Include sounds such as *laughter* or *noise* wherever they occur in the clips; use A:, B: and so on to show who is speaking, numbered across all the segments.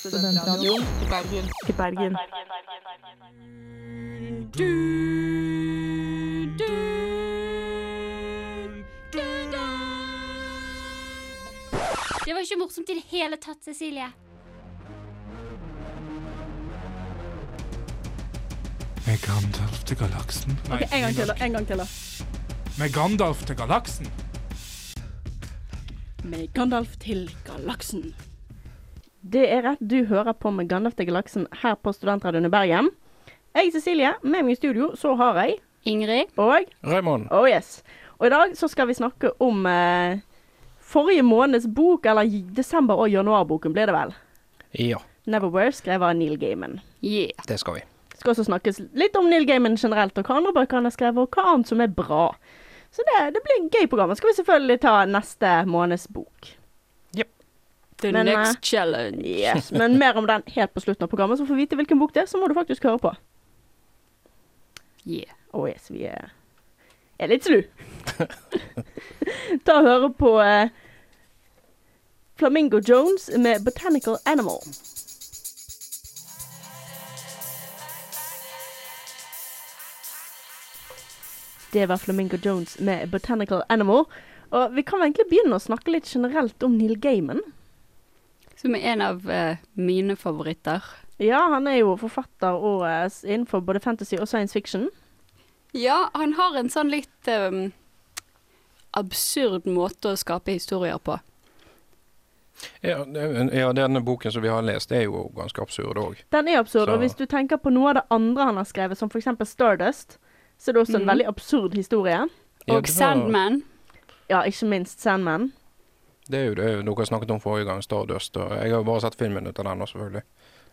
A: Studentradioen i Bergen. Bergen.
B: Det var ikke morsomt i det hele tatt, Cecilie.
C: Med Gandalf til galaksen. Nei,
D: Ok, en gang til, da. En gang til, da.
C: Med Gandalf til galaksen.
D: Med Gandalf til galaksen. Det er rett, du hører på Med Gandalf til galaksen her på Studentradioen i Bergen. Jeg, Cecilie, med meg i studio så har jeg
B: Ingrid.
D: og
E: Raymond.
D: Oh yes. Og i dag så skal vi snakke om eh, forrige måneds bok, eller i desember- og januarboken blir det vel.
E: Ja,
D: 'Neverwhere', skrevet av Neil Gaiman.
B: Yeah.
E: det skal vi.
D: Det skal også snakkes litt om Neil Gaiman generelt, og hva andre bøker han har skrevet, og hva annet som er bra. Så det, det blir en gøy program. Så skal vi selvfølgelig ta neste måneds bok.
A: The
D: Men, eh,
A: next challenge.
D: Yes, Men mer om den helt på slutten av programmet. Så for å vite hvilken bok det er, så må du faktisk høre på.
A: Yeah.
D: Oh yes, vi er, er litt slu. *laughs* Ta og høre på eh, Flamingo Jones med 'Botanical Animal'. Det var Flamingo Jones med 'Botanical Animal'. Og vi kan vel egentlig begynne å snakke litt generelt om Neil Gaiman.
A: Som er en av eh, mine favoritter.
D: Ja, han er jo forfatter og eh, s- innenfor både fantasy og science fiction.
A: Ja, han har en sånn litt eh, absurd måte å skape historier på.
E: Ja, det- ja, denne boken som vi har lest, er jo ganske absurd òg.
D: Den er absurd,
E: Så-
D: og hvis du tenker på noe av det andre han har skrevet, som f.eks. Stardust, så er det også en
A: Mhm.
D: veldig absurd historie.
E: Ja,
A: Og
E: det var-
A: Sandman.
D: Ja, ikke minst Sandman.
E: Det er jo det dere snakket om forrige gang, Stardust. Og jeg har jo bare sett filmen ut av den, også, selvfølgelig.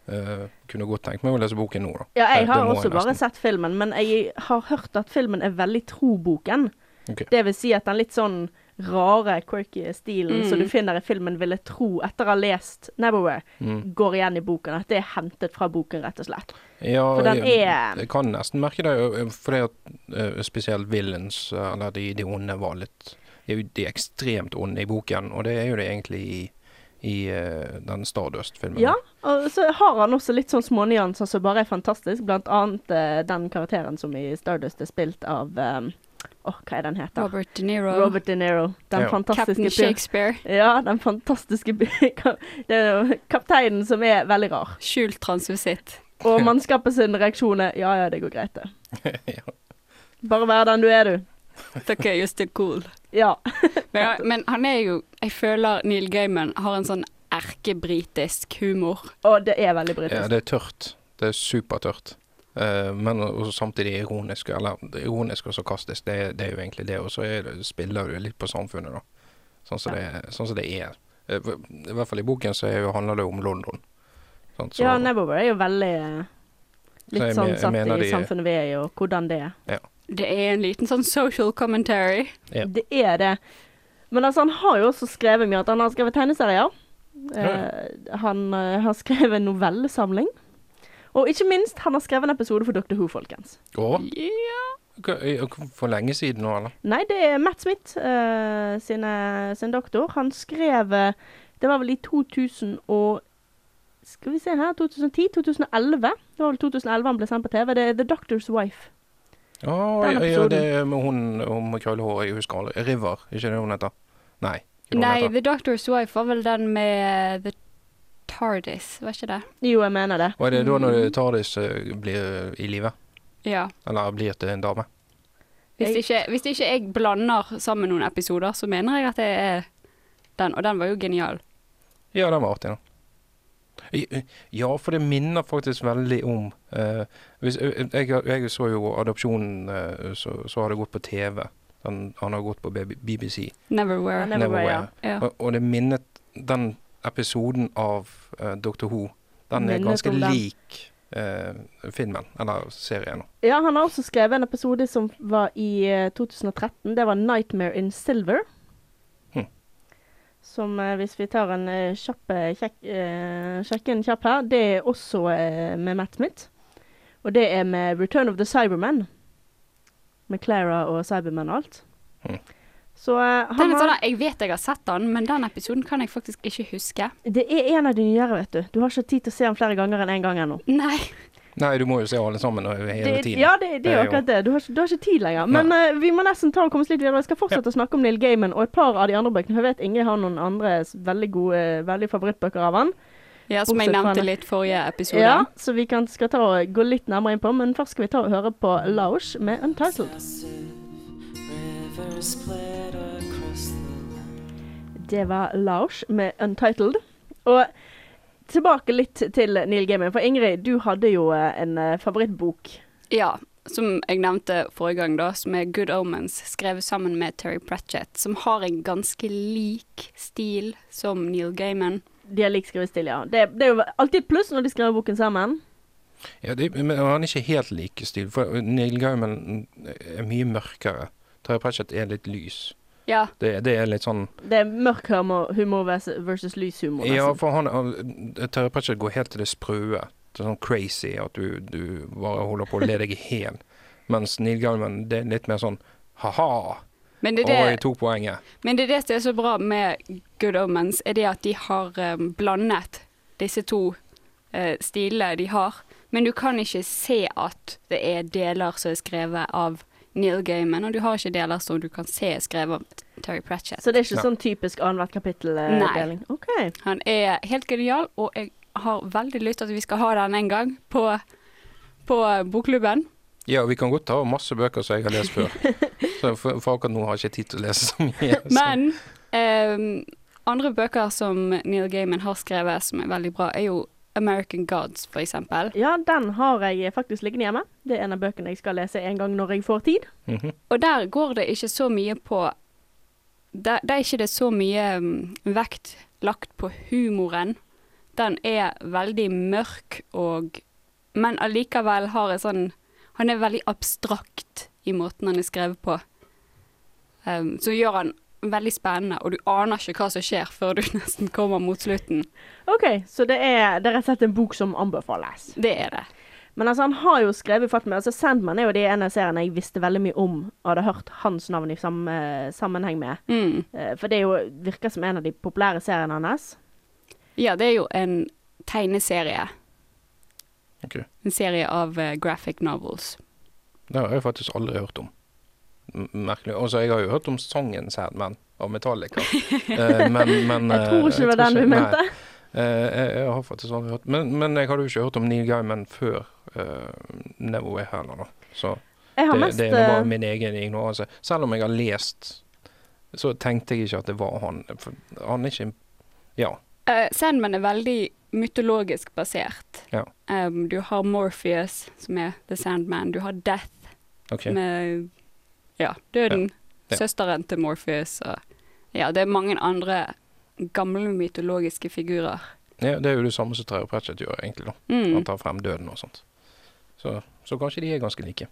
E: Eh, kunne godt tenkt meg å lese boken nå, da.
D: Ja, jeg
E: Det-
D: har
E: det må
D: også
E: jeg
D: bare
E: nesten.
D: sett filmen, men jeg har hørt at filmen er veldig tro boken.
E: Ok.
D: Det vil si at den litt sånn rare, quirky stilen
A: Mhm.
D: som du finner i filmen, ville tro etter å ha lest Neverwhere,
E: Mm.
D: går igjen i boken. At det er hentet fra boken, rett og slett.
E: Ja,
D: For den
E: jeg,
D: er-
E: jeg kan nesten merke det, ø- ø, fordi at ø, spesielt villains, eller de, de onde, var litt De er jo de ekstremt onde i boken, og det er jo det egentlig i, i ø, den Stardust-filmen.
D: Ja, og så har han også litt sånn smånyanser som bare er fantastisk. Blant annet eh, den karakteren som i Stardust er spilt av eh, Åh, hva er den heter? Robert,
A: Robert De Niro.
D: De Niro. Den
E: Ja.
D: fantastiske
A: Captain
D: fyren.
A: Shakespeare.
D: Ja, den fantastiske by- *laughs* ka- Det er jo kapteinen som er veldig rar.
A: Skjult transvisitt.
D: Og mannskapet sin reaksjon er ja ja, det går greit, det.
E: *laughs* Ja.
D: Bare være den du er, du.
A: Dere er jo still cool.
D: Ja.
A: Men, ja, men han er jo Jeg føler Neil Gaiman har en sånn erkebritisk humor.
D: Og det er veldig britisk.
E: Ja, det er tørt. Det er supertørt. Eh, men også samtidig ironisk, eller det er ironisk og sarkastisk. Det, er- det er jo egentlig det. Og så er det- spiller du litt på samfunnet, da. Sånn som det, sånn som det er. Eh, I hvert fall i boken så er jo, handler det om London. Sant? Så-
D: Ja, Neverwhere er jo veldig eh,
E: Så
D: Litt
E: jeg
D: sånn
E: me- jeg
D: satt
E: mener
D: i
E: de-
D: samfunnet vi er i, og hvordan det er.
A: Det er en liten sånn social commentary.
E: Ja.
D: Det er det. Men altså, han har jo også skrevet mye. At han har skrevet tegneserier. Eh, han eh, har skrevet en novellesamling. Og ikke minst, han har skrevet en episode for Dr. Who, folkens.
E: Å,
A: Ja.
E: k- eh, k- for lenge siden nå, eller?
D: Nei, det er Matt Smith eh, sine, sin doktor. Han skrev eh, Det var vel i 2000 og Skal vi se her 2010? 2011? Det var vel 2011 han ble sendt på TV. Det er The Doctor's Wife.
E: Å,
D: Den
E: ja, ja,
D: episoden.
E: det er med hun om krøllehår Jeg husker aldri. River, ikke det hun heter? Nei. ikke det hun
A: Nei,
E: heter.
A: The Doctor's Wife var vel den med The Tardis, var ikke det?
D: Jo, jeg mener det.
E: Og er det da når Tardis eh, blir i live?
A: Ja.
E: Eller blir til en dame?
A: Hvis
D: Jeg-
A: ikke, hvis ikke jeg blander sammen noen episoder, så mener jeg at det er den, og den var jo genial.
E: Ja, den var artig, da. I- Ja, for det minner faktisk veldig om eh, hvis, jeg, jeg, jeg så jo adopsjonen eh, så, så har det gått på TV. Den, han har gått på B- BBC.
A: Neverwhere.
D: Neverwhere,
E: Neverwhere.
A: ja.
E: Og, og det minnet den episoden av eh, Dr. Who. Den er
D: Minnet
E: ganske
D: om den.
E: lik eh, filmen, eller serien.
D: Ja, han har også skrevet en episode som var i eh, 2013. Det var 'Nightmare in Silver'.
E: Hm.
D: Som, eh, hvis vi tar en eh, kjapp eh, kjekk, eh, sjekker en kjapp her, det er også eh, med Matt Smith. Og det er med 'Return of the Cyberman'. Med Clara og Cyberman og alt.
E: Hm.
D: Så eh,
A: Det er
D: han
A: litt sånn
D: har,
A: at Jeg vet jeg har sett den, men den episoden kan jeg faktisk ikke huske.
D: det er en av de nyere, vet du. Du har ikke tid til å se han flere ganger enn én en gang ennå.
A: Nei.
E: Nei, du må jo se alle sammen og- hele
D: Det-
E: tiden.
D: Ja, det, det er
E: Det er
D: jo
E: jo-
D: akkurat det. Du har, ikke- du har ikke tid lenger. Men eh, vi må nesten ta og komme oss litt videre. Jeg skal fortsette å snakke om Neil Gaiman og et par av de andre bøkene. for Jeg vet Ingrid har noen andre s- veldig gode eh, veldig favorittbøker av han.
A: Ja, Som jeg
D: Bortsett fra
A: nevnte
D: den.
A: litt forrige episode.
D: Ja, så vi kan, skal ta og gå litt nærmere inn på, men først skal vi ta og høre på Laush med Untitled.
F: River split across the land.
D: Det var Laush med Untitled. Og tilbake litt til Neil Gaiman, for Ingrid, du hadde jo eh, en eh, favorittbok.
A: Ja, som jeg nevnte forrige gang, da, som er Good Omens, skrevet sammen med Terry Pratchett, som har en ganske lik stil som Neil Gaiman.
D: De er lik skrevet stille, ja. Det, det er jo alltid et pluss når de skriver boken sammen.
E: Ja, det, men han er ikke helt like stil, for Neil Gaiman eh, er mye mørkere. Terje Pratchett er litt lys.
A: Ja,
E: Det, det er litt sånn
D: Det er mørk humor, humor vers- versus lys humor. nesten.
E: Ja, for han, han Terje Pratchett går helt til det sprøe. Til sånn crazy at du, du bare holder på å le deg i hjel. Mens Neil Gaiman, det er litt mer sånn ha-ha,
A: men det,
E: og
A: er
E: jeg
A: det,
E: tok poenget.
A: men det er det som er så bra med Good Omens, er det at de har em, blandet disse to eh, stilene de har. Men du kan ikke se at det er deler som er skrevet av Neil Gaiman, og du har ikke deler som du kan se er skrevet av Terry Pratchett.
D: Så det er ikke
E: Ja.
D: sånn typisk annethvert
A: Nei.
D: kapittel-deling? OK.
A: Han er helt genial, og jeg har veldig lyst til at vi skal ha den en gang på, på bokklubben.
E: Ja, vi kan godt ta masse bøker som jeg har
A: *laughs*
E: lest før. Så for, for akkurat nå har jeg ikke tid til å lese så mye. Så.
A: Men ehm, andre bøker som Neil Gaiman har skrevet som er veldig bra, er jo American Gods, for eksempel.
D: Ja, den har jeg faktisk liggende hjemme. Det er en av bøkene jeg skal lese en gang når jeg får tid.
E: Mhm.
A: Og der går det ikke så mye på Der, der er ikke det så mye mm, vekt lagt på humoren. Den er veldig mørk og Men allikevel har en sånn Han er veldig abstrakt i måten han er skrevet på. Em, så gjør han veldig spennende, og du aner ikke hva som skjer før du *laughs* nesten kommer mot slutten.
D: OK, så det er, det er rett og slett en bok som anbefales.
A: Det er det.
D: Men altså, han har jo skrevet fatt med altså Sandman er jo det en av seriene jeg visste veldig mye om og hadde hørt hans navn i samme sammenheng med.
A: Mm.
D: Eh, For det er jo, virker som en av de populære seriene hans.
A: Ja, det er jo en tegneserie.
E: Ok.
A: En serie av eh, graphic novels.
E: Det har jeg faktisk aldri hørt om. M- Merkelig. Altså, jeg har jo hørt om sangen Sandman av Metallica.
D: *laughs*
E: Eh, men, men
D: Jeg tror ikke det var den du mente.
E: Eh, jeg, jeg har faktisk aldri hørt men, men jeg hadde jo ikke hørt om Neil Gaiman før uh, Neverway heller, da. Så
D: Jeg har
E: det,
D: mest
E: det er bare
D: eh,
E: min egen ignoranse. Selv om jeg har lest, så tenkte jeg ikke at det var han. For han er ikke en Ja.
A: Eh, Sandman er veldig mytologisk basert.
E: Ja.
A: Em, du har Morpheus, som er The Sandman. Du har Death,
E: OK.
A: som er ja, døden.
E: Ja.
A: Søsteren til Morpheus. Og, ja, det er mange andre gamle mytologiske figurer.
E: Ja, det er jo det samme som Terje Pratchett gjør, egentlig. da. Han
A: Mm.
E: tar frem døden og sånt. Så, så kanskje de er ganske like.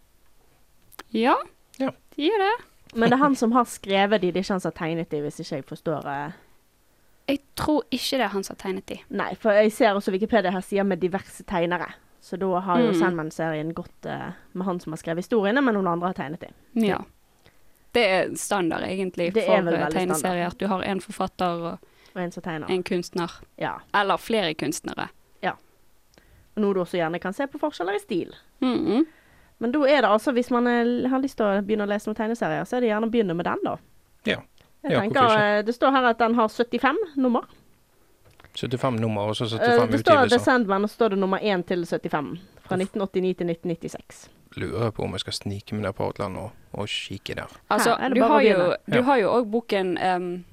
A: Ja,
E: Ja.
A: de er det.
D: Men det er han som har skrevet de, det er ikke han som har tegnet de, hvis ikke jeg forstår eh,
A: Jeg tror ikke det er han som har tegnet de.
D: Nei, for jeg ser også Wikipedia her sier med diverse tegnere. Så da har jo
A: Mm.
D: Sandman-serien gått eh, med han som har skrevet historiene, men noen andre har tegnet dem.
A: Ja. Det er standard, egentlig,
D: Det er
A: for
D: vel
A: eh,
D: veldig
A: tegneserier. At du har en forfatter og
D: Og en som tegner.
A: en kunstner.
D: Ja.
A: Eller flere kunstnere.
D: Og noe du også gjerne kan se på forskjeller i stil.
A: Mm
D: Men da er det altså, hvis man eh, har lyst til å begynne å lese noen tegneserier, så er det gjerne å begynne med den, da.
E: Ja.
D: Jeg
E: Ja,
D: tenker,
E: hvorfor ikke?
D: eh, Det står her at den har 75 nummer.
E: 75 nummer, og så
D: Eh,
E: 75
D: Det står The
E: utgivelser.
D: Sandman, og så står det nummer 1 til 75. Fra 1989 til 1996.
E: Lurer jeg på om jeg skal snike meg ned på Outland og, og kikke der.
A: Altså,
D: Her er det
A: du
D: bare å
A: har, jo,
D: begynne.
A: du
E: Ja.
A: har jo òg boken em,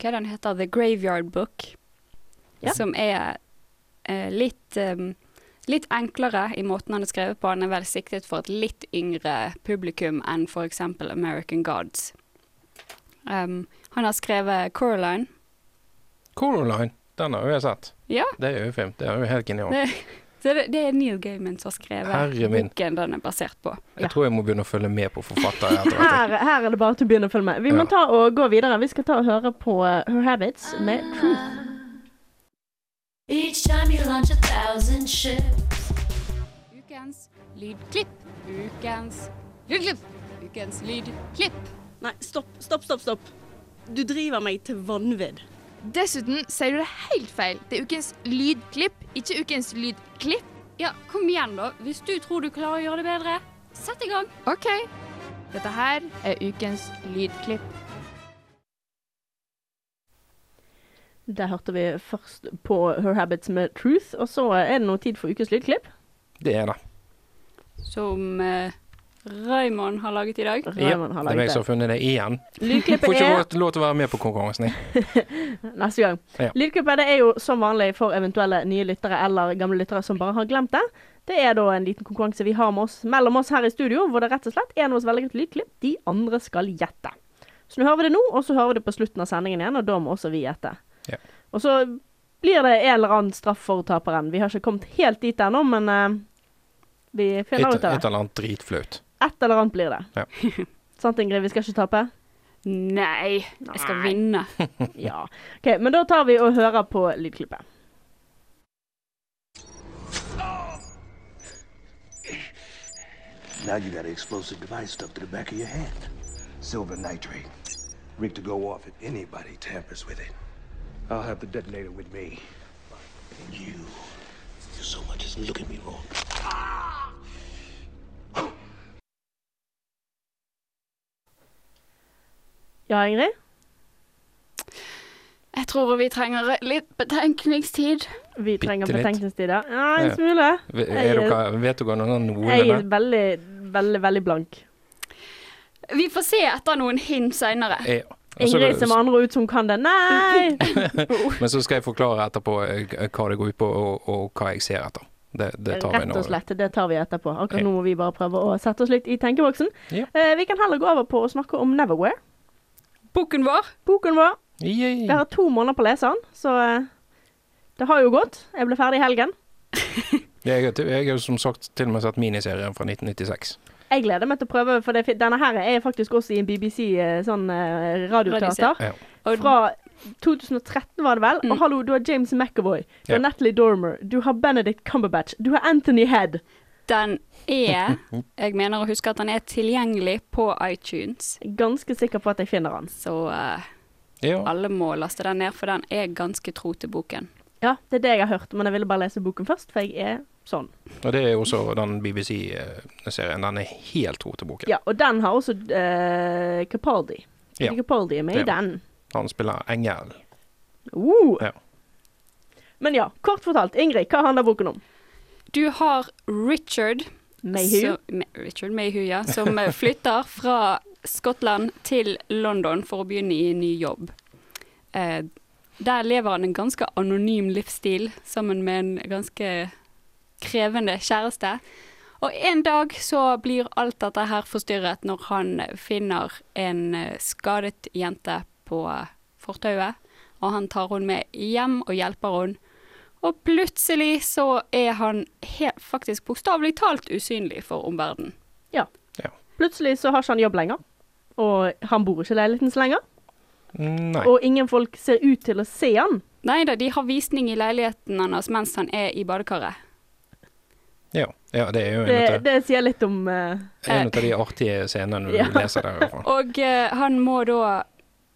A: Hva er den heter The Graveyard Book.
D: Ja.
A: Som er eh, litt em, Litt enklere i måten han er skrevet på. Han er vel siktet for et litt yngre publikum enn f.eks. American Gods. Em, han har skrevet Coraline.
E: Coraline, den har jo jeg sett.
A: Ja,
E: Det er jo film. Det er jo helt genialt.
A: det, så det, det er Neil Gaiman som har skrevet
E: Herre min.
A: boken den er basert på.
D: ja.
E: Jeg tror jeg må begynne å følge med på forfattere etter hvert.
D: Her, her er det bare til å begynne å følge med. Vi må
E: Ja.
D: ta og gå videre. Vi skal ta og høre på eh, Her Habits med
G: Ah.
D: Truth.
H: Each time you launch a thousand ships.
A: Ukens lydklipp. Ukens lydklipp. Ukens lydklipp.
G: Nei, stopp, stopp, stopp. stopp. Du driver meg til vanvidd.
I: Dessuten sier du det helt feil. Det er ukens lydklipp, ikke ukens lydklipp.
A: Ja, kom igjen, da. Hvis du tror du klarer å gjøre det bedre, sett i gang.
I: OK. Dette her er ukens lydklipp.
D: Der hørte vi først på Her Habits med Truth, og så er det nå tid for ukens lydklipp.
E: Det er det.
A: Som eh, Raymond har laget i dag.
D: Raymond har
E: det er
D: laget
E: meg som har funnet det igjen. Får
D: Lydklippet
E: ikke
D: er
E: lov- lov til å være med på konkurransen, jeg.
D: Neste gang.
E: Ja.
D: Lydklippet det er jo som vanlig for eventuelle nye lyttere eller gamle lyttere som bare har glemt det. Det er da en liten konkurranse vi har med oss, mellom oss her i studio, hvor det rett og slett er noe veldig godt lydklipp. De andre skal gjette. Så nå hører vi det nå, og så hører vi det på slutten av sendingen igjen, og da må også vi gjette.
E: Ja.
D: Og så blir det en eller annen straff for taperen. Vi har ikke kommet helt dit ennå, men eh, vi
E: Et,
D: finner ut av
E: et
D: det.
E: eller annet dritflaut.
D: Et eller annet blir det.
E: Ja.
D: *laughs* Sant, Ingrid? Vi skal ikke tape?
A: Nei, jeg skal
D: Nei.
A: vinne.
D: Ja. OK, men da tar vi og hører på lydklippet.
J: Now you got an explosive device stuck to the back of your hand. Silver nitrate. Rigged to go off if anybody tampers with it. I'll have the detonator with me. You. You so much as look at me wrong.
D: Ja, Ingrid?
A: Jeg tror vi trenger litt betenkningstid.
D: Vi trenger
E: Bitte litt.
D: betenkningstid, ja. Ja, en
E: Ja.
D: smule.
E: V-
D: Jeg-
E: Er dere, vet dere noen av
D: Jeg er
E: nodene?
D: veldig, veldig, veldig blank.
A: Vi får se etter noen hint seinere.
E: Ja. Og så-
D: Ingrid ser med andre ut som kan det. Nei!
E: Men så skal jeg forklare etterpå eh, hva det går ut på, og, og hva jeg ser etter. Det, *laughs* det tar vi
D: Rett
E: nå.
D: og slett. Det tar vi etterpå. Akkurat
E: Ja.
D: nå må vi bare prøve å sette oss litt i tenkeboksen.
E: Ja.
D: Eh, Vi kan heller gå over på å snakke om Neverwhere.
A: Boken vår.
D: Boken vår.
E: Yay.
D: Vi har to måneder på å lese den, så eh, det har jo gått. Jeg ble ferdig i helgen.
E: Jeg, har- jeg har jo som sagt til og med sett miniserien fra 1996.
D: Jeg gleder meg til å prøve, for det, fi- denne her er faktisk også i en BBC eh, sånn eh, radioteater.
E: Ja.
A: Og
D: Fra 2013 var det vel. Og hallo, du har James McAvoy, du har
E: Mm. Ja.
D: Natalie Dormer, du har Benedict Cumberbatch, du har Anthony Head.
A: den er Jeg mener å huske at den er tilgjengelig på iTunes.
D: Ganske sikker på at jeg finner han.
A: Så eh,
E: Ja.
A: alle må laste den ned, for den er ganske tro til boken.
D: Ja, det er det jeg har hørt, men jeg ville bare lese boken først, for jeg er sånn.
E: Og det er jo også den BBC-serien. eh, Den er helt tro til boken.
D: Ja, Og den har også eh, Capaldi.
E: Ja.
D: Capaldi er med i
E: Det er
D: den.
E: Han spiller engel.
D: Uh.
E: Ja.
D: Men ja, kort fortalt, Ingrid, hva handler boken om?
A: Du har Richard
D: Mayhew.
A: som- Ma- Richard Mayhew, ja. Som eh, flytter *laughs* fra Skottland til London for å begynne i en ny jobb. Eh, der lever han en ganske anonym livsstil sammen med en ganske krevende kjæreste. Og en dag så blir alt dette her forstyrret når han finner en eh, skadet jente på eh, fortauet. Og han tar henne med hjem og hjelper henne. Og plutselig så er han he- faktisk bokstavelig talt usynlig for omverdenen.
D: Plutselig så har ikke han jobb lenger. Og han bor ikke i leiligheten så lenger.
E: Nei.
D: Og ingen folk ser ut til å se han.
A: Nei da, de har visning i leiligheten hans mens han er i badekaret.
E: Ja. ja, det er jo en
D: Det,
E: av de-
D: det sier litt om eh,
E: en av de artige scenene du
D: Ja.
E: *laughs* leser der. i hvert fall.
A: Og eh, han må da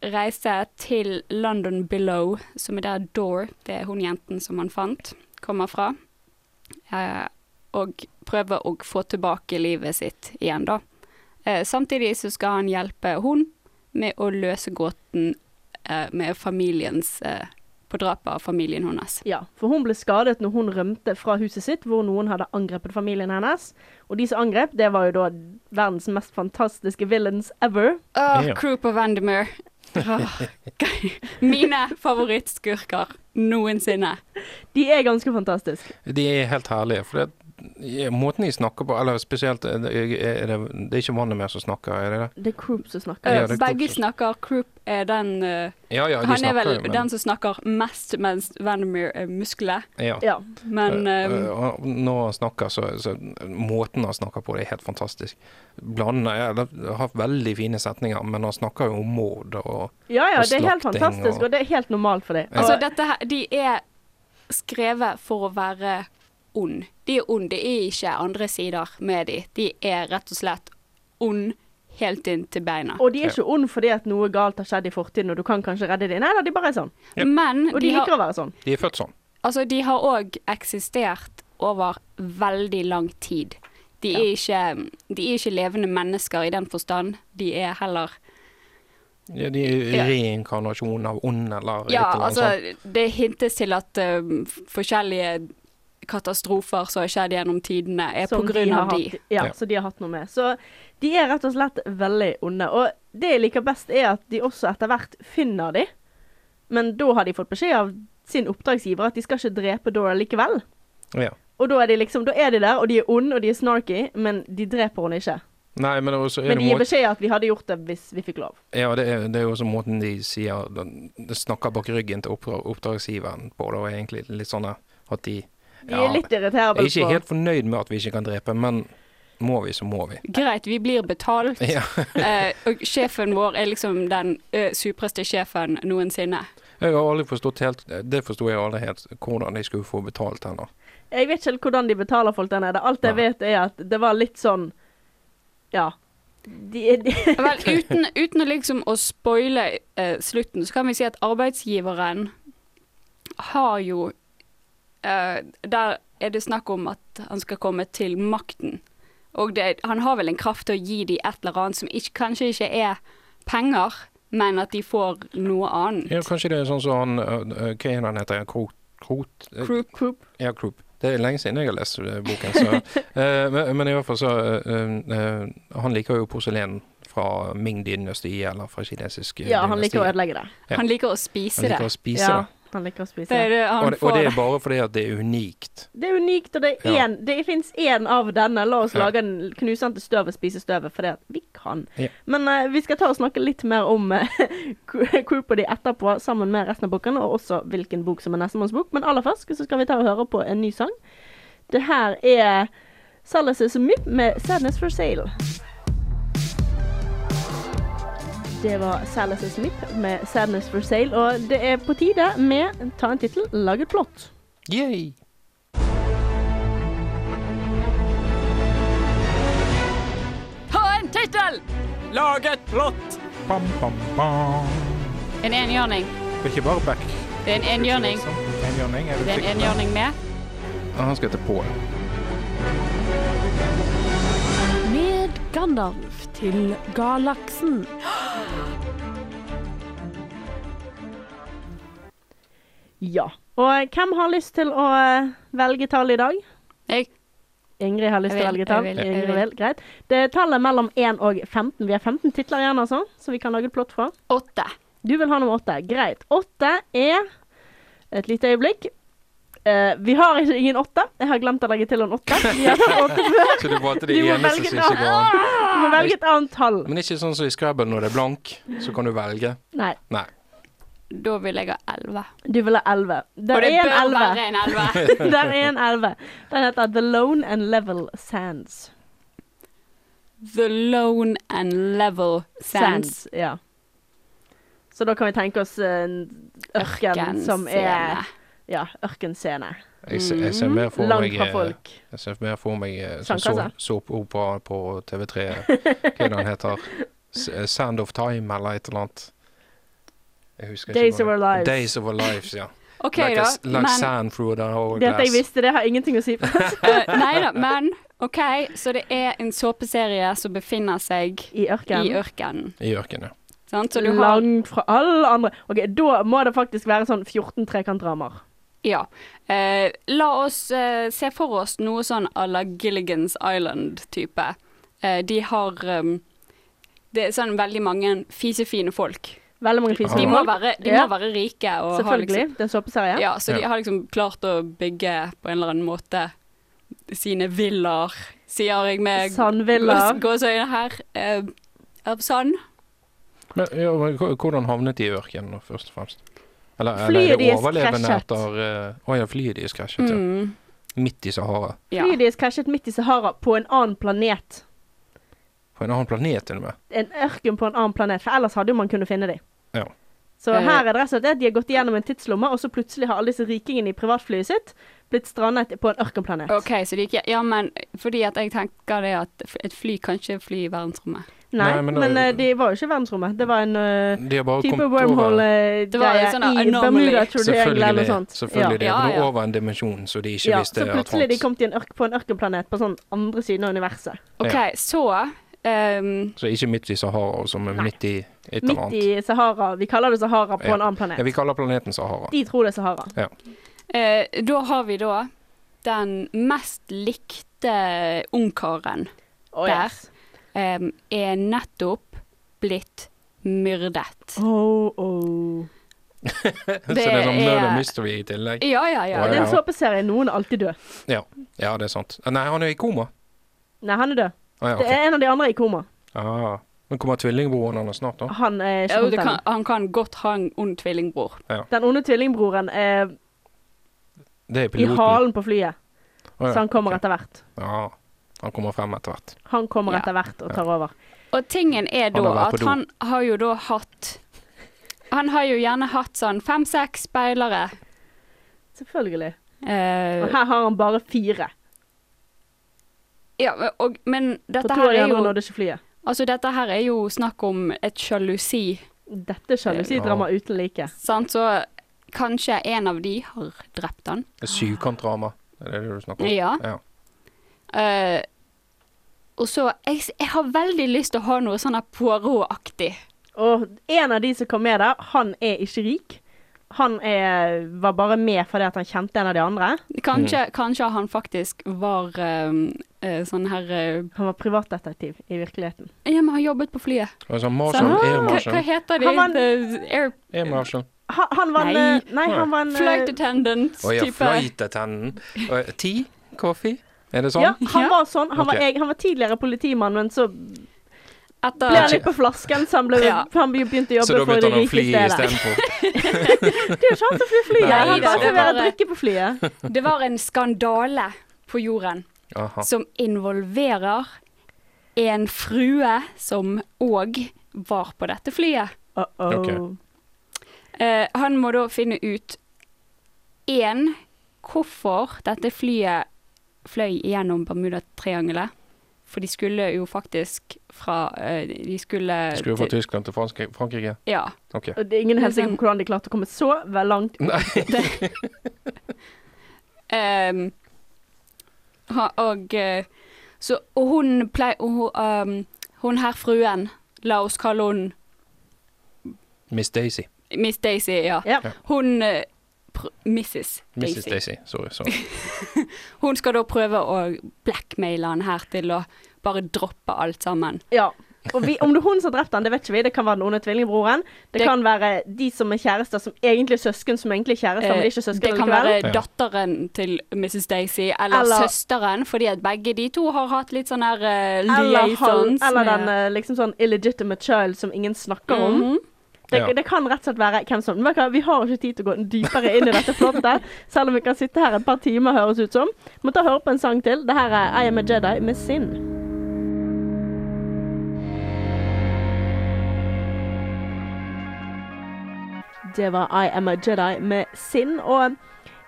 A: reise til London Below, som er der Door, det er hun jenten som han fant, kommer fra. Eh, og prøve å få tilbake livet sitt igjen, da. Eh, samtidig så skal han hjelpe hun med å løse gåten eh, med familiens eh, På drapet av familien hennes.
D: Ja, for hun ble skadet når hun rømte fra huset sitt, hvor noen hadde angrepet familien hennes. Og de som angrep, det var jo da verdens mest fantastiske villains ever.
A: Åh,
E: Ja.
A: Crew på Ah, Vandermeer. Åh, Mine favorittskurker noensinne.
D: De er ganske fantastiske.
E: De er helt herlige. For det, i- måten de snakker på, eller spesielt er det, er det, det er ikke vannet mer som snakker, er det det?
D: Det er Croup som snakker.
E: Ja,
A: Eh,
E: det er
A: Begge
E: Croop som-
A: snakker. Croop er den eh,
E: Ja, ja, de
A: Han er
E: snakker
A: vel
E: jo, men-
A: den som snakker mest mens Vandermeer er muskler.
E: ja.
D: Ja.
A: Men
E: Eh,
A: eh,
E: eh, og når han snakker, så, så Måten han snakker på, det er helt fantastisk. Blandende ja, det har veldig fine setninger, men han snakker jo om mord og
D: ja, ja,
E: Og
D: det er helt
E: slakting
D: fantastisk,
E: og-
D: og det er helt normalt for dem.
E: Ja.
A: altså, dette her De er skrevet for å være ond. De er ond. Det er ikke andre sider med de. De er rett og slett ond helt inn til beina.
D: Og de er ikke onde fordi at noe galt har skjedd i fortiden, og du kan kanskje redde dem. Nei da, de bare er sånn.
E: Jep.
A: Men
D: Og de
A: de
D: liker
A: har,
D: å være sånn.
E: De er født sånn.
A: altså, de har òg eksistert over veldig lang tid. De er, ikke, de er ikke levende mennesker i den forstand. De er heller
E: Ja, de er
A: Ja.
E: reinkarnasjon av ond eller et
A: Ja,
E: eller annet sånt.
A: altså, det hintes til at eh, f- forskjellige katastrofer som har skjedd gjennom tidene, er på
D: Som
A: grunn
D: har
A: av de.
D: hatt- Ja,
E: Ja.
D: så de har hatt noe med. Så de er rett og slett veldig onde. Og det jeg liker best, er at de også etter hvert finner de. Men da har de fått beskjed av sin oppdragsgiver at de skal ikke drepe Dora likevel.
E: Ja.
D: Og da er de liksom, da er de der, og de er onde, og de er snarky, men de dreper henne ikke.
E: Nei, men, også er
D: Men de
E: det
D: gir
E: må...
D: beskjed at vi hadde gjort det hvis vi fikk lov.
E: ja, det, er, det er jo også måten de sier den- de snakker bak ryggen til oppdra- oppdragsgiveren på. Det er egentlig litt sånn at de
D: De er litt irriterable
E: Jeg er ikke helt fornøyd med at vi ikke kan drepe, men må vi, så må vi.
D: *laughs*
A: Greit, vi blir
E: *laughs*
A: betalt.
E: Ja.
A: eh, og sjefen vår er liksom den ø, supreste sjefen noensinne.
E: Jeg har aldri forstått helt Det forsto jeg aldri helt, hvordan de skulle få betalt henne.
D: Jeg vet ikke helt hvordan de betaler folk der nede. Alt jeg
E: Nei.
D: vet er at det var litt sånn Ja. De, de,
A: Vel, uten, uten å liksom å spoile eh, slutten, så kan vi si at arbeidsgiveren har jo eh, Der er det snakk om at han skal komme til makten. Og det, han har vel en kraft til å gi de et eller annet som ikke, kanskje ikke er penger, men at de får noe annet.
E: Ja, kanskje det er sånn som han øh, øh, Hva er han heter? Krot? Krot? øh,
A: Croup.
E: Ja, Croup. Det er lenge siden jeg har lest øh, boken, så
D: *laughs*
E: øh, men, men i hvert fall så øh, øh, Han liker jo porselen fra Ming-dynastiet, eller fra kinesisk øh,
D: ja, han liker å
E: dynasti.
D: ødelegge det.
E: Ja.
A: Han liker å spise
E: Han
A: det.
E: liker å spise
D: Ja,
E: det.
D: han liker å spise
A: Det
D: det.
A: er det
E: Og,
A: han
E: det-
A: får.
E: og det er bare fordi at det er unikt.
D: Det er unikt, og det er
E: Ja.
D: én Det fins én av denne. La oss
E: Ja.
D: lage en knuse den til støv og spise støvet, for det at vi kan.
E: Ja.
D: Men eh, vi skal ta og snakke litt mer om *laughs* uh, Croup og de etterpå, sammen med resten av boken, og også hvilken bok som er nestemanns bok. Men aller først så skal vi ta og høre på en ny sang. Det her er Salas Myp med 'Sadness for Sale'. Det var Salas Myp med 'Sadness for Sale', og det er på tide med ta en tittel, lag et plott.
E: Yay!
D: *laughs*
A: Ta en tittel!
C: Lag et plott! Bam, bam, bam.
A: En enhjørning.
C: Det er ikke bare back.
A: Det er en enhjørning.
C: Enhjørning er
A: Det er en
C: det
A: enhjørning med.
E: Og Han skal til Pål.
K: Med Gandalf til Galaksen.
D: Ja. Og hvem har lyst til å eh, velge tall i dag?
A: Jeg.
D: Ingrid har lyst
A: Jeg
D: til å
A: vil,
D: velge tall.
A: jeg vil, jeg
D: Ingrid
A: vil.
D: vil, Greit. Det er tallet mellom 1 og 15. Vi har 15 titler igjen, altså, så vi kan lage et plott fra.
A: Åtte.
D: Du vil ha nummer 8. Greit. 8 er Et lite øyeblikk. Eh, vi har ikke ingen 8. Jeg har glemt å legge til en 8. Vi har tatt 8 før.
E: Så du valgte det
D: Du må
E: eneste
D: velge
E: som ikke går an.
D: Du må velge et annet tall.
E: Men ikke sånn som i Scrabble når det er blank, så kan du velge.
D: Nei.
E: Nei.
A: Da vil jeg ha elleve.
D: Du vil ha 11.
A: Og
D: Der er
A: det
D: en
A: bør
D: *laughs* 11.
A: være en elleve.
D: Der er en 11. Den heter The Lone and Level Sands.
A: *laughs* The lone and level sands.
D: Sands, ja. Så da kan vi tenke oss eh, en ørken, som er
A: Ørkenscene.
D: ja, ørkenscene.
E: Jeg ser, jeg ser mer for
D: Mm, Langt
E: meg
D: fra
E: eh,
D: folk.
E: Jeg ser mer for meg eh, sånn
D: Sandkassa.
E: såp- såpeopera på TV3.
D: *laughs*
E: Hva den heter S eh, Sand of Time eller et eller annet. Jeg husker ikke
D: Days
E: hva
D: of Our
E: det-
D: Lives.
E: Days of Our Lives, ja.
A: OK,
E: like
A: da.
E: a s- like
A: Men
E: sand through the whole
D: Det at jeg
E: glass.
D: visste det, har ingenting å si. på.
A: *laughs* eh, Nei da, men OK. Så det er en såpeserie som befinner seg
D: I
A: i
D: ørken.
A: ørkenen.
E: I ørkenen.
A: Sant? Så du har
D: Langt fra alle andre. Ok, Da må det faktisk være sånn 14 trekantrammer.
A: Ja. Eh, la oss eh, se for oss noe sånn à la Gilligan's Island-type. Eh, de har eh, Det er sånn veldig mange fisefine folk.
D: Veldig mange
E: Ja.
A: De
D: fisefine
A: må
D: folk.
A: være, de
D: Ja.
A: må være rike og ha liksom
D: Selvfølgelig. Det er en såpeserie.
A: Ja, så de
E: Ja.
A: har liksom klart å bygge på en eller annen måte sine villaer, sier jeg med
D: Sandvilla.
A: gås- gåseøyne her. eh, av sand.
E: Men, ja, men hva- hvordan havnet de i ørkenen, nå, først og fremst? Eller,
D: Flyet
E: eller er det
D: deres
E: overlevende
D: krasjet.
E: etter eh, Å ja, flyet deres krasjet, ja.
A: Mm,
E: Midt i Sahara.
A: ja.
D: Flyet deres krasjet midt i Sahara på en annen planet.
E: På en annen planet, til og med.
D: en ørken på en annen planet, for ellers hadde jo man kunnet finne dem.
E: Ja.
D: Så
A: Eh.
D: her er det rett og slett det at de har gått igjennom en tidslomme, og så plutselig har alle disse rikingene i privatflyet sitt blitt strandet på en ørkenplanet.
A: OK, så de ikke Ja, men fordi at jeg tenker det at f- et fly kan ikke fly i verdensrommet.
D: Nei,
E: Nei,
D: men,
E: men, eh,
D: eh, de var jo ikke i verdensrommet. Det var en eh,
E: De har bare
D: type
E: kommet over-
A: Det var jo
D: wormhole-greie
A: sånn
D: i
A: anomaly.
D: Bermuda-triangelet eller noe
E: Selvfølgelig,
D: sånt.
E: selvfølgelig det.
A: Ja,
E: for det
A: ja.
E: er over en dimensjon som de ikke
D: Ja,
E: visste
D: så
E: at
D: plutselig de
E: fantes.
D: kom til en ørk på en ørkenplanet på sånn andre siden av universet.
A: OK, så ehm,
E: Så ikke midt i Sahara, og som er
D: Nei.
E: midt i et eller
D: Midt
E: annet.
D: i Sahara. Vi kaller det Sahara på
E: Ja.
D: en annen planet.
E: Ja, vi kaller planeten Sahara.
D: De tror det er Sahara.
E: Ja.
A: eh, Da har vi da den mest likte ungkaren
D: Oh,
A: der. ehm, er nettopp blitt myrdet.
D: Oh, oh.
E: så det er sånn murder
A: er-
E: mystery i tillegg.
A: Ja, ja, ja.
E: Ja,
D: Det er
E: ja.
D: en såpeserie. Noen er alltid død.
E: Ja. ja, det er sant. Ah, Nei, han er i koma.
D: Nei, han er død.
E: Ah, ja,
D: Det
E: ok.
D: er en av de andre i koma.
E: ah. Men kommer tvillingbroren hans snart, da?
D: Han er
A: Ja,
D: ikke
A: og det
D: ja,
A: kan, han kan godt ha en ond tvillingbror.
D: Den onde tvillingbroren er
E: Det er
D: i
E: piloten.
D: halen på flyet,
E: Ah,
D: så han kommer
E: ok.
D: etter hvert.
E: Ja, han kommer frem etter hvert.
D: Han kommer
A: Ja.
D: etter hvert og tar over.
A: Og tingen er
E: Han
A: da
E: har vært på
A: at
E: do.
A: han har jo da hatt Han har jo gjerne hatt sånn fem-seks speilere.
D: Selvfølgelig. Og
A: Eh,
D: her har han bare fire.
A: ja, og, men
D: For
A: dette
D: to av
A: her
D: de
A: er
D: andre
A: jo
D: nådde ikke flyet.
A: Altså, dette her er jo snakk om et sjalusi,
D: Dette er sjalusidrama uten like.
A: sant? Så kanskje en av de har drept han.
E: Et Syvkantdrama, er det det du snakker om?
A: Ja.
E: ja.
A: Eh, og så jeg, s- jeg har veldig lyst til å ha noe sånn her Poirot-aktig.
D: Og en av de som kom med der, han er ikke rik. Han er, var bare med fordi at han kjente en av de andre.
A: Kanskje, kanskje han faktisk var eh, eh, sånn her eh,
D: Han var privatdetektiv i virkeligheten.
A: Ja, men han jobbet på flyet.
E: Og sånn
A: Sånn,
E: Marshall,
D: Ah,
E: Air
A: hva, hva
E: Marshall,
A: heter de?
D: Han var en-
A: The Air
E: Air Marshall.
D: Han, han var en
A: Nei.
D: eh, Nei, han var en eh,
A: Flight attendant-type.
E: Å ja, flightattenden. Ti? Kaffe? Er det sånn?
D: Ja, han
A: Ja.
D: var sånn. Han,
E: Ok.
D: var, eg- han var tidligere politimann, men så ble han
A: Etter
D: litt på flasken, så han, ble,
A: Ja.
D: han begynte å
E: Så da
D: jobbe for
E: begynte
D: det
E: han å
D: rike
E: fly
D: stedet.
E: istedenfor?
D: *laughs* Det er jo ikke han som flyr flyet.
E: Nei,
D: han
E: det er
D: bare
E: sant.
D: serverer drikke på flyet.
A: Det var en skandale på jorden
E: Aha.
A: som involverer en frue som òg var på dette flyet.
D: Uh-oh.
E: *laughs* Ok.
A: Eh, han må da finne ut én hvorfor dette flyet fløy gjennom Bermudatriangelet. For de skulle jo faktisk fra eh, De skulle,
D: *laughs*
E: Skulle fra
A: til-
E: Tyskland til Frankrike? Frankrike?
A: Ja.
E: OK.
D: Og det er ingen
A: Det er
D: helt sikker på hvordan de klarte å komme så vel langt.
E: Nei.
A: Ehm, ha, og eh, så og hun pleier hun, ehm, hun her fruen, la oss kalle hun
E: Miss Daisy.
A: Miss Daisy, ja.
D: Ja.
A: Hun eh, pr Mrs.
E: Mrs.
A: Daisy.
E: Daisy. Sorry. sorry.
A: Hun skal da prøve å blackmaile han her til å bare droppe alt sammen.
D: Ja. Og vi, om det er hun som har drept han, det vet ikke vi. Det kan være den onde tvillingbroren. Det,
A: Det-
D: kan være de som er kjærester, som egentlig er søsken, som egentlig er kjærester, men de er ikke
A: Eh, det
D: søsken
A: kan
D: likevel.
A: være
E: Ja.
A: datteren til Mrs. Daisy, eller,
D: Eller-
A: søsteren, fordi at begge de to har hatt litt sånn her eh,
D: Eller, han,
A: liaisons
D: eller
A: med-
D: den eh, liksom sånn illegitimate child som ingen snakker om.
A: Mhm.
D: Det,
E: Ja.
D: det kan rett og slett være hvem som Vet du hva, Vi har ikke tid til å gå dypere inn i dette plottet, selv om vi kan sitte her et par timer, høres ut som. Må ta og høre på en sang til. Det her er I Am a Jedi med Sinn. Det var I Am a Jedi med Sinn, og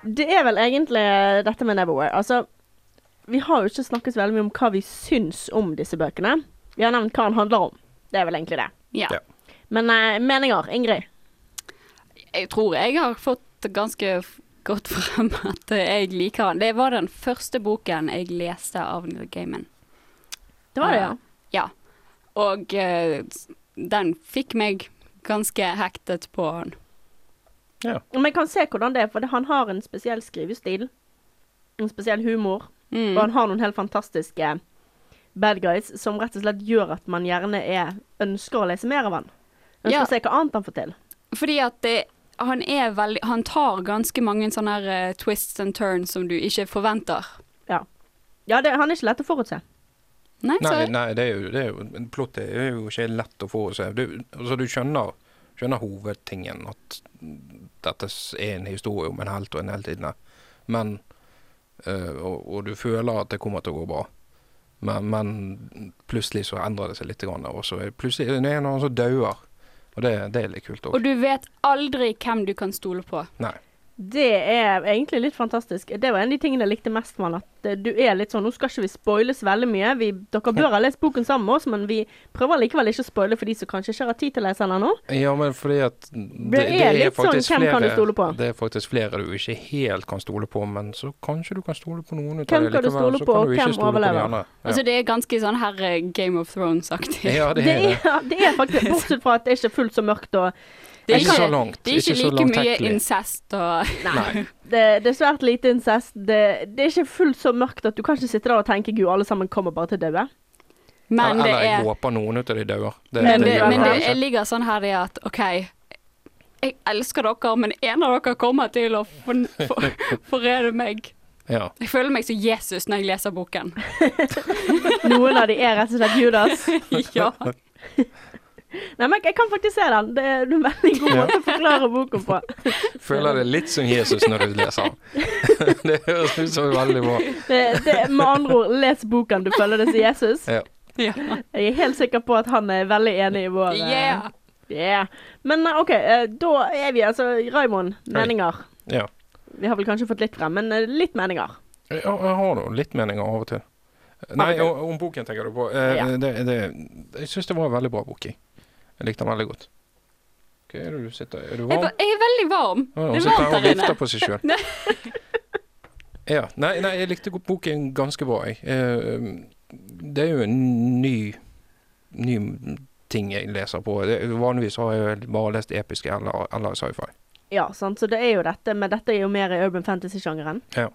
D: det er vel egentlig dette med Neverwhere. Altså, vi har jo ikke snakket så veldig mye om hva vi syns om disse bøkene. Vi har nevnt hva den handler om. Det er vel egentlig det.
A: Ja.
E: Ja.
D: Men eh, meninger, Ingrid?
A: Jeg tror jeg har fått ganske f- godt frem *laughs* at eh, jeg liker han. Det var den første boken jeg leste av Neil Gaiman.
D: Det
A: var det, ja. Og eh, s- den fikk meg ganske hektet på han.
D: Men jeg kan se hvordan det er, for det- han har en spesiell skrivestil. En spesiell humor. Og han
A: Mm.
D: har noen helt fantastiske bad guys som rett og slett gjør at man gjerne er, ønsker å lese mer av han. Ønsker
A: Ja.
D: å se hva annet han får til.
A: Fordi at det, han er veldig Han tar ganske mange sånne her, eh, twists and turns som du ikke forventer.
D: Ja, det, han er ikke lett å forutse.
A: Nei, så,
E: Nei, nei, det er jo, det er jo men Plottet er jo ikke lett å forutse. Du, altså, du skjønner, skjønner hovedtingen, at dette s- er en historie om en helt og en heltinne. Men eh, og, og du føler at det kommer til å gå bra. Men, men plutselig så endrer det seg litt. Grann, og så er plutselig er det en eller annen som dauer. Og det, det er litt kult
A: og
E: òg.
A: du vet aldri hvem du kan stole på.
E: Nei.
D: Det er egentlig litt fantastisk. Det var en av de tingene jeg likte mest med han. At eh, du er litt sånn Nå skal ikke vi spoiles veldig mye. Vi, dere bør ha lest boken sammen med oss, men vi prøver likevel ikke å spoile for de som kanskje ikke har tid til å lese den ennå.
E: Ja, men fordi at det,
D: er litt sånn, hvem kan du stole på?
E: Det er faktisk flere du ikke helt kan stole på, men så kanskje du kan stole på noen ut av
D: Hvem
E: det
D: kan du
E: likevel,
D: stole på,
E: så kan
D: og
E: du ikke
D: hvem
E: stole på de
D: overlever?
E: andre. Ja.
A: Altså, det er ganske sånn her eh, Game of Thrones-aktig.
E: *laughs* Ja, det er det.
D: Ja, det er *laughs* faktisk Bortsett fra at det er ikke fullt så mørkt og
A: Det er
E: Ikke så langt,
A: *laughs* Det er ikke,
E: ikke så
A: like mye
E: langtekkelig.
A: incest og
E: Nei.
D: det, det er svært lite incest. Det, det er ikke fullt så mørkt at du kan ikke sitte der og tenke gud, alle sammen kommer bare til å daue.
A: Men det
E: Eller jeg
A: er
E: håper noen ut av de dauer. Det-
A: Men det,
E: gjør
A: men
E: jeg altså.
A: det
E: ikke.
A: jeg ligger sånn her i at OK, jeg elsker dere, men en av dere kommer til å forn-
E: *laughs*
A: for- forræde meg.
E: Ja.
A: Jeg føler meg som Jesus når jeg leser boken. *laughs*
D: Noen av de er rett og slett Judas.
A: Ja.
D: Nei, men jeg kan faktisk se den. Det er en veldig god måte å forklare boken på.
E: Føler det litt som Jesus når du leser den. *laughs* det høres ut som veldig bra.
D: Det, det, med andre ord, les boken du følger det som Jesus.
E: Ja.
A: ja.
D: Jeg er helt sikker på at han er veldig enig i vår eh,
A: Yeah.
D: yeah. Men eh, OK, eh, da er vi altså Raymond, meninger.
E: Ja.
D: Vi har vel kanskje fått litt frem, men eh, litt meninger.
E: Jeg, Eh, jeg har nå litt meninger av og til. Eh, Nei, om, om boken tenker du på. Eh,
D: Ja.
E: det, det, jeg syns det var en veldig bra bok. Jeg, jeg likte den veldig godt. Hva er det du sitter Er du
A: Jeg,
E: varm?
A: ba- jeg er veldig varm.
E: Ja,
A: Det
E: Hun
A: er
E: sitter
A: varmt
E: her og
A: der inne.
E: vifter på seg
A: *laughs*
E: sjøl. Ja. Nei, nei, jeg likte go- boken ganske bra, jeg. Eh, Det er jo en ny, ny ting jeg leser på. Det, vanligvis har jeg vel bare lest episke eller, eller sci-fi.
D: Ja, sant? så det er jo dette, men dette er jo mer i urban fantasy-sjangeren.
E: Eh,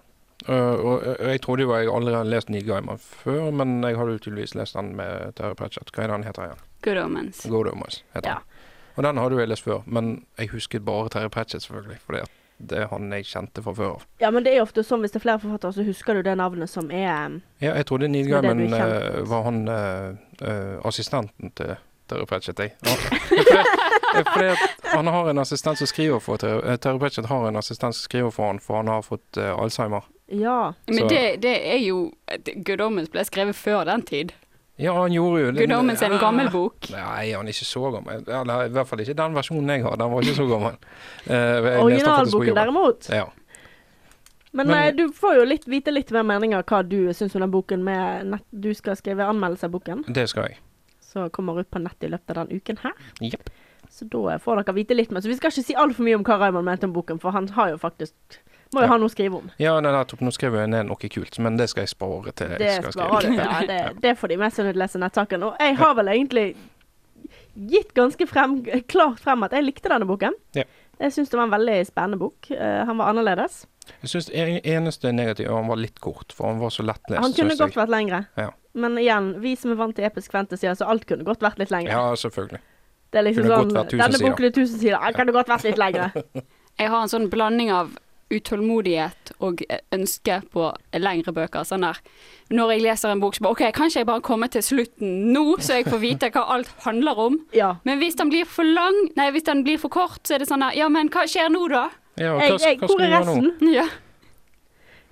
E: og og jeg trodde jo jeg aldri hadde lest Neil Gaiman før, men jeg hadde jo tydeligvis lest den med Terje Pratchett. Hva er det han heter igjen?
A: Good omens.
E: Good Omens heter
D: Ja.
E: han. Og den hadde jo jeg lest før, men jeg husket bare Terje Pratchett, selvfølgelig. Fordi at det er han jeg kjente fra før av.
D: Ja, men det er jo ofte sånn hvis det er flere forfattere, så husker du det navnet som er eh,
E: Ja, jeg trodde Neil
D: Som er det
E: Gaiman
D: du kjente.
E: eh, var han eh, eh, assistenten til Terry Pratchett,
D: *laughs*
E: jeg. Ja. Fordi, eh, fordi at han har en assistent som skriver for Terry eh, Terry Pratchett har en assistent som skriver for han, for han har fått eh, Alzheimer.
D: Ja.
A: Men
E: Så-
A: det, det er jo det- Good omens ble skrevet før den tid.
E: Ja, han gjorde jo det.
A: Good omens er en gammel bok.
E: Nei, han er ikke så gammel. Eller i hvert fall ikke den versjonen jeg har. Den var ikke så gammel. Eh, jeg leste den faktisk på
D: Originalboken,
E: jobben.
D: derimot.
E: Ja.
D: Men,
E: Men-
D: eh, du får jo litt, vite litt mer meninger hva du syns om den boken med nett, Du skal skrive anmeldelse av boken,
E: Det skal jeg.
D: som kommer ut på nett i løpet av den uken her.
E: Jepp.
D: Så da får dere vite litt mer. Så vi skal ikke si altfor mye om hva Raymond mente om boken, for han har jo faktisk Må jo
E: Ja.
D: ha noe å skrive om.
E: Ja, nei, nettopp. Nå skrev jeg ned noe kult, men det skal jeg spare til jeg
D: Det
E: skal skrive.
D: sparer du. Ja, det, det får de mest som leser nettsaken. Og jeg har vel egentlig gitt ganske frem, klart frem at jeg likte denne boken.
E: Ja.
D: Jeg syns det var en veldig spennende bok. Eh, han var annerledes.
E: Jeg syns eneste negative var han var litt kort, for han var så lettlest.
D: Han kunne
E: synes jeg.
D: godt vært lengre.
E: Ja.
D: Men igjen, vi som er vant til episk fantasy, altså alt kunne godt vært litt lengre.
E: Ja, selvfølgelig.
D: det er liksom
E: kunne godt
D: sånn,
E: vært tusen
D: Denne
E: sider.
D: boken er tusen sider, den kunne godt vært litt
E: *laughs*
D: lengre.
A: Jeg har en sånn blanding av utålmodighet og eh, ønske på lengre bøker. Sånn der. Når jeg leser en bok, så bare OK, kan ikke jeg bare komme til slutten nå, så jeg får vite hva alt handler om?
D: Ja.
A: Men hvis den blir for lang, nei, hvis den blir for kort, så er det sånn der Ja, men hva skjer nå, da?
E: Ja, hva,
D: Jeg, jeg,
E: hva
D: hvor er
E: skal vi gjøre nå?
D: resten?
A: Ja.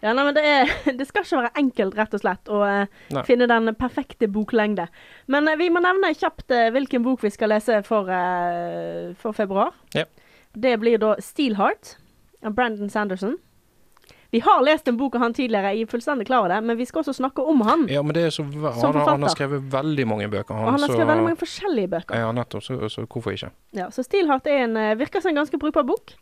D: Ja, nei, men det, er, *laughs* det skal ikke være enkelt, rett og slett, å eh,
E: Nei.
D: finne den perfekte boklengde. Men eh, vi må nevne kjapt eh, hvilken bok vi skal lese for, eh, for februar.
E: Ja.
D: Det blir da 'Steelheart' av Brandon Sanderson. Vi har lest en bok av han tidligere, jeg er fullstendig klar over det, men vi skal også snakke om han.
E: Ja, men det er så v- han, har- han
D: forfatter.
E: har skrevet veldig mange bøker, han.
D: og han har
E: så-
D: skrevet veldig mange forskjellige bøker.
E: Ja, nettopp. Så, så hvorfor ikke?
D: Ja, så 'Steelheart' er en, eh, virker som en ganske brukbar bok.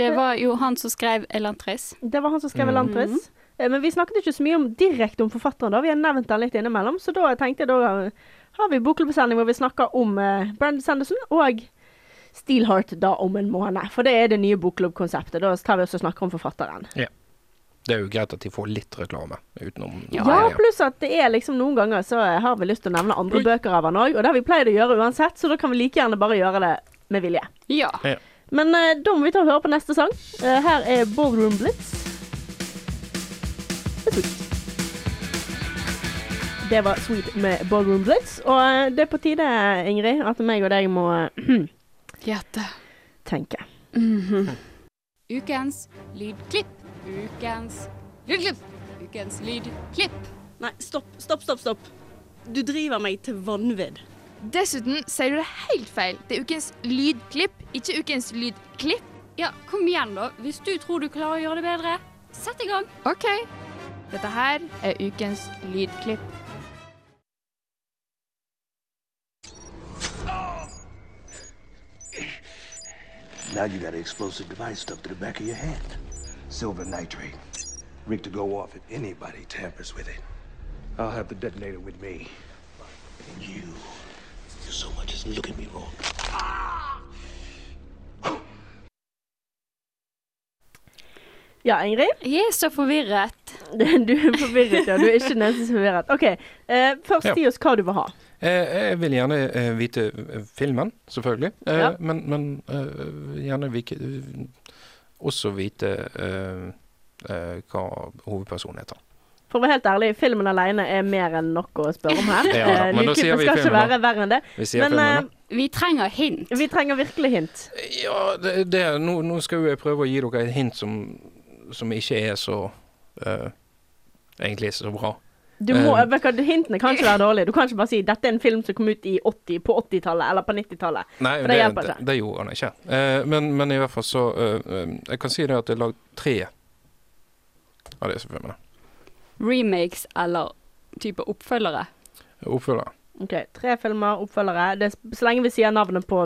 A: Det var jo han som skrev Elantris.
D: Det var han som skrev
E: Mm.
D: Elantris. Eh, Men vi snakket ikke så mye om direkte om forfatteren, da. Vi har nevnt den litt innimellom. Så da tenkte jeg da eh, har vi bokklubbsending hvor vi snakker om eh, Brandon Sanderson og Steelheart da om en måned. For det er det nye bokklubbkonseptet. Da tar vi også og snakker om forfatteren.
E: Det er jo greit at de får litt reklame utenom
A: Ja,
D: Ja,
E: Nei,
D: pluss at det er liksom noen ganger så eh, har vi lyst til å nevne andre bøker av han òg. Og det har vi pleid å gjøre uansett, så da kan vi like gjerne bare gjøre det med vilje.
A: Ja.
D: Men eh, da må vi ta og høre på neste sang. Eh, her er Ballroom Blitz. Det er sweet. Det var sweet med Ballroom Blitz. Og eh, det er på tide, Ingrid, at meg og deg må eh,
A: Gjette.
D: tenke.
A: Mhm. Ukens lydklipp. Ukens lydklipp. Ukens lydklipp.
G: Nei, stopp, stopp, stopp. stopp. Du driver meg til vanvidd.
I: Dessuten sier du det helt feil. Det er ukens lydklipp, ikke ukens lydklipp.
A: Ja, kom igjen, da. Hvis du tror du klarer å gjøre det bedre, sett i gang.
I: OK. Dette her er ukens lydklipp.
J: Now you got an explosive device stuck to the back of your hand. Silver nitrate. Rigged to go off if anybody tampers with it. I'll have the detonator with me. You. You so much as look at me wrong.
D: Ja, Ingrid? *laughs*
A: Jeg er så forvirret.
D: Du er forvirret, ja. Du er ikke nesten så forvirret. OK, eh, først
E: Ja.
D: gi oss hva du vil ha.
E: Eh, jeg vil gjerne eh, vite eh, filmen, selvfølgelig. Eh,
D: Ja.
E: Men, men eh, gjerne vike, også vite eh, eh, hva hovedpersonen heter.
D: For å være helt ærlig, filmen alene er mer enn nok å spørre om her.
E: Ja da,
D: Eh,
E: men da sier
D: Lydklippet
E: vi
D: skal ikke
E: filmen, da.
D: være verre enn det.
E: Vi sier filmen,
D: eh,
A: Vi trenger hint.
D: vi trenger virkelig hint.
E: Ja, det, det, nå, nå skal jo jeg prøve å gi dere et hint som, som ikke er så eh, Egentlig så bra.
D: Du må,
E: Eh,
D: vet du hva, hintene kan ikke være dårlige. Du kan ikke bare si 'dette er en film som kom ut i 80, på 80-tallet eller på 90-tallet'.
E: Nei,
D: For
E: det,
D: det
E: det,
D: hjelper ikke.
E: det gjorde han ikke. Eh, men, men i hvert fall så eh, eh, Jeg kan si det at det er lagd tre av disse filmene.
A: Remakes eller type oppfølgere.
E: Oppfølgere.
D: OK, tre filmer, oppfølgere. Det, er s- så lenge vi sier navnet på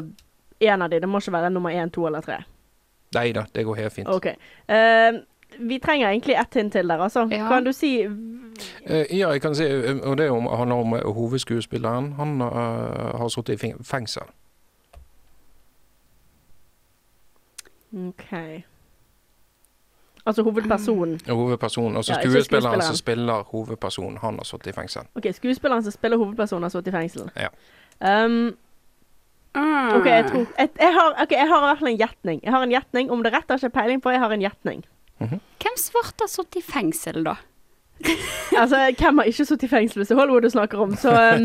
D: én av de, det må ikke være nummer én, to eller tre.
E: Nei da, det går helt fint.
D: OK. Eh, vi trenger egentlig ett hint til der, altså.
A: Ja.
D: Kan du si
E: Eh, ja, jeg kan si eh, Og det er om, handler om eh, hovedskuespilleren. Han eh, har sittet i feng- fengsel.
D: OK. Altså hovedpersonen.
E: Hovedpersonen. Altså
D: Ja, ikke
E: skuespilleren
D: skuespilleren.
E: som spiller hovedpersonen, han har sittet i fengsel.
D: OK, skuespilleren som spiller hovedpersonen, har sittet i fengsel.
E: Ja.
D: Um, OK, jeg tror jeg, jeg har ok, jeg har i hvert fall en gjetning. Jeg har en gjetning. Om det er rett, har jeg ikke peiling på. Jeg har en gjetning.
A: Hvem svart har sittet i fengsel, da?
D: Altså, hvem har ikke sittet i fengsel hvis det er Hollywood du snakker om? Så um,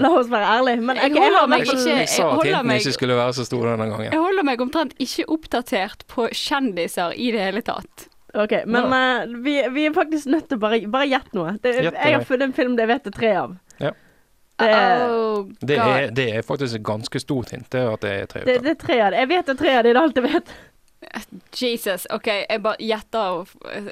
D: la oss være ærlige. Men ok,
A: Jeg
D: jeg har
A: holder meg
D: i hvert fall-
A: ikke-
E: Jeg sa
A: jeg
E: at
A: holder
E: hintene
A: meg-
E: ikke skulle være så store denne gangen.
A: Jeg holder meg omtrent ikke oppdatert på kjendiser i det hele tatt.
D: Ok, men uh, vi, vi er faktisk nødt til å bare, bare gjette noe. Det,
E: Gjett
D: jeg har
E: det.
D: funnet en film det vet det er tre av.
E: Ja.
D: Det, er-
A: Oh,
E: Det er,
A: God.
E: det er faktisk et ganske stort hint, det er at det er tre
D: det,
E: uker.
D: det er tre av det. Jeg vet det er tre av det, det er alt jeg vet.
A: Jesus. OK, jeg bare gjetter av,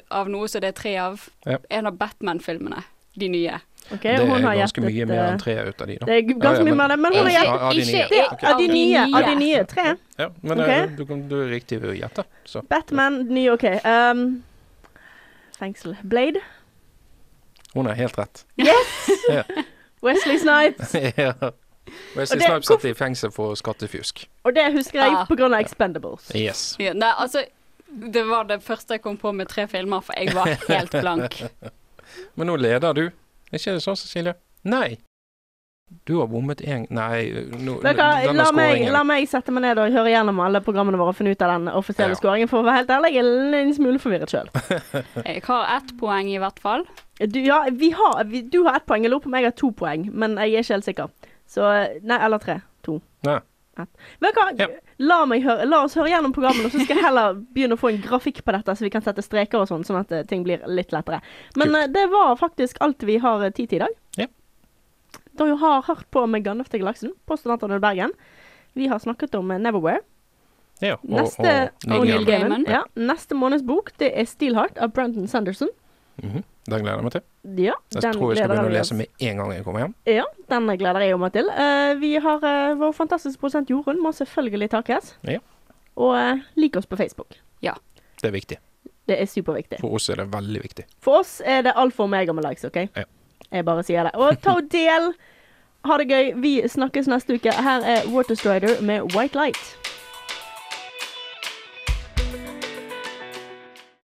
A: av noe som det er tre av.
E: Ja.
A: En av Batman-filmene. De nye.
D: Ok,
E: Det er
D: hun har
E: ganske mye mer
D: eh,
E: enn tre ut av de, da.
D: Det er ganske
E: Ja, ja,
D: mye mer enn det, men hun har
E: Ja,
D: gjettet
E: av de nye.
A: ikke-
D: det er
A: ok.
D: av de nye. Av de nye. Tre.
E: Ja, men
D: Ok.
E: eh, du, kan- du er riktig ved å gjette. Så.
D: Batman, ny, OK. Um, fengsel. Blade.
E: Hun er helt rett. *laughs*
D: Wesley Snipes.
E: ja. Wesley
D: Og det-
E: Snipes satt i fengsel for skattefusk.
D: Og det husker jeg
A: Ah.
D: på grunn av Expendables.
E: Yes.
A: Ja, nei, altså Det var det første jeg kom på med tre filmer, for jeg var helt blank.
E: *laughs* Men nå leder du. Er ikke det sånn, Cecilie? Nei. Du har bommet én Nei, nå,
D: Vet du hva,
E: denne
D: la meg,
E: scoringen-
D: la meg sette meg ned og høre gjennom alle programmene våre og finne ut av den offisielle
E: Ja.
D: scoringen. For å være helt ærlig, jeg er en smule forvirret sjøl.
A: Jeg har ett poeng, i hvert fall.
D: Ja, vi har, vi, du har ett poeng. Jeg lurer på om jeg har to poeng, men jeg er ikke helt sikker. Så eh, Nei, eller tre. To.
E: Nei.
D: Ett. Vet du hva,
E: Ja.
D: la, meg høre, la oss høre gjennom programmene, så skal jeg heller begynne å få en grafikk på dette, så vi kan sette streker og sånn, sånn at eh, ting blir litt lettere. Men
E: Kult.
D: eh, det var faktisk alt vi har eh, tid til i dag.
E: Ja.
D: Dere har hørt på med Gandalf til Galaksen på Studentene i Bergen. Vi har snakket om eh, Neverwhere.
E: *laughs* Ja, og,
D: Neste,
E: og,
D: og
E: Neil
D: Neil
E: Gaiman.
D: Gaiman. Ja. Neste måneds bok det er 'Steelheart' av Brandon Sanderson.
E: Mhm. Den gleder jeg meg til.
D: Ja,
E: Jeg
D: den
E: tror jeg
D: gleder
E: skal begynne å
D: vi oss-
E: lese med en gang jeg kommer hjem.
D: Ja, den gleder jeg meg til. Eh, vi har eh, vår fantastiske produsent Jorunn, må selvfølgelig takkes.
E: Ja.
D: Og eh, lik oss på Facebook.
E: Det er viktig.
D: Det er superviktig.
E: For oss er det veldig viktig.
D: For oss er det alfa og omega med likes, OK?
E: Ja.
D: Jeg bare sier det. Og ta og del! Ha det gøy. Vi snakkes neste uke. Her er Waterstrider med White Light.